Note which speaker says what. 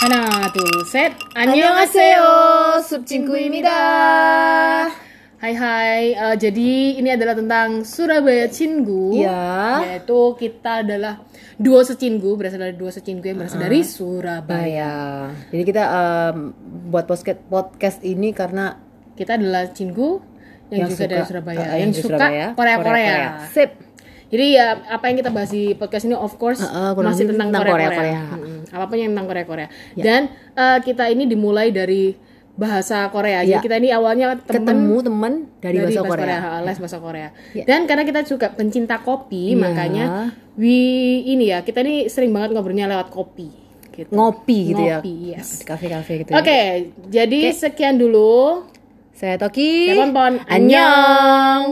Speaker 1: 하나 둘셋
Speaker 2: 안녕하세요, 숲친구입니다.
Speaker 1: Hai hai Eh, jadi ini adalah tentang Surabaya Cinggu
Speaker 2: Iya.
Speaker 1: yaitu kita adalah duo secinggu berasal dari duo secinggu yang berasal dari
Speaker 2: Nah,
Speaker 1: Surabaya
Speaker 2: ya. Jadi kita em, buat podcast podcast ini karena
Speaker 1: kita adalah Cinggu yang, juga dari Surabaya
Speaker 2: eh,
Speaker 1: yang,
Speaker 2: dari
Speaker 1: suka
Speaker 2: Surabaya,
Speaker 1: Korea Korea
Speaker 2: Sip.
Speaker 1: jadi ya apa yang kita bahas di podcast ini of course
Speaker 2: Uh-uh, kurang
Speaker 1: masih
Speaker 2: lebih
Speaker 1: tentang
Speaker 2: tentang
Speaker 1: Korea Korea,
Speaker 2: Korea-Korea. Ya.
Speaker 1: Mm-mm, apapun yang tentang Korea Korea dan eh, kita ini dimulai dari bahasa Korea jadi
Speaker 2: Ya.
Speaker 1: kita ini awalnya teman
Speaker 2: Ketemu teman dari,
Speaker 1: dari
Speaker 2: bahasa Korea.
Speaker 1: ha, les bahasa Korea.
Speaker 2: Ya.
Speaker 1: Dan karena kita juga pencinta kopi,
Speaker 2: Ya.
Speaker 1: makanya we ini ya, kita ini sering banget ngobrolnya lewat kopi gitu.
Speaker 2: Ngopi gitu ya.
Speaker 1: Ngopi, yes.
Speaker 2: Di kafe-kafe gitu.
Speaker 1: Oke, jadi sekian dulu.
Speaker 2: Saya Toki.
Speaker 1: Saya Ponpon.
Speaker 2: Annyeong.